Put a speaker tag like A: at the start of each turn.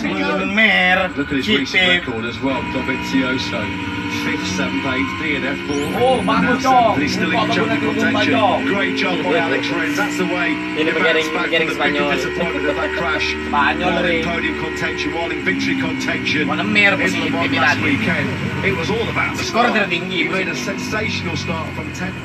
A: Bloomin' mare.
B: Look at his recent
A: Cheap
B: record as well, Dovizioso. Fifth, seventh, eighth, D and F four.
C: Oh, back with dog.
B: He's still in
C: Father,
B: jumping
C: we're
B: contention.
C: gonna go with my dog.
B: Great job by Alex Renz. That's the way.
D: Viene
B: you bounce
D: Magarin-
B: back from the big
D: Magarin Spagnolo.
B: disappointment of that crash.
C: Spagnolo.
B: While in podium contention, while in victory contention.
C: Buona mera,
B: in
C: possibile,
B: Le Mans
C: mi
B: last
C: dai.
B: weekend, it was all about the
C: Scorre
B: start.
C: della dinghia,
B: He made
C: possibile.
B: a sensational start from 10th.